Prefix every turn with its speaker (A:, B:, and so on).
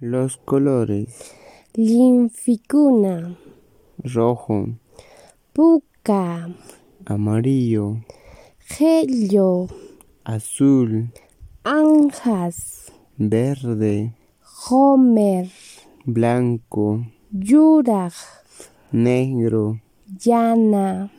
A: Los colores
B: linficuna,
A: rojo,
B: puca,
A: amarillo,
B: gelio,
A: azul,
B: anjas,
A: verde,
B: homer,
A: blanco,
B: yuraj,
A: negro,
B: llana.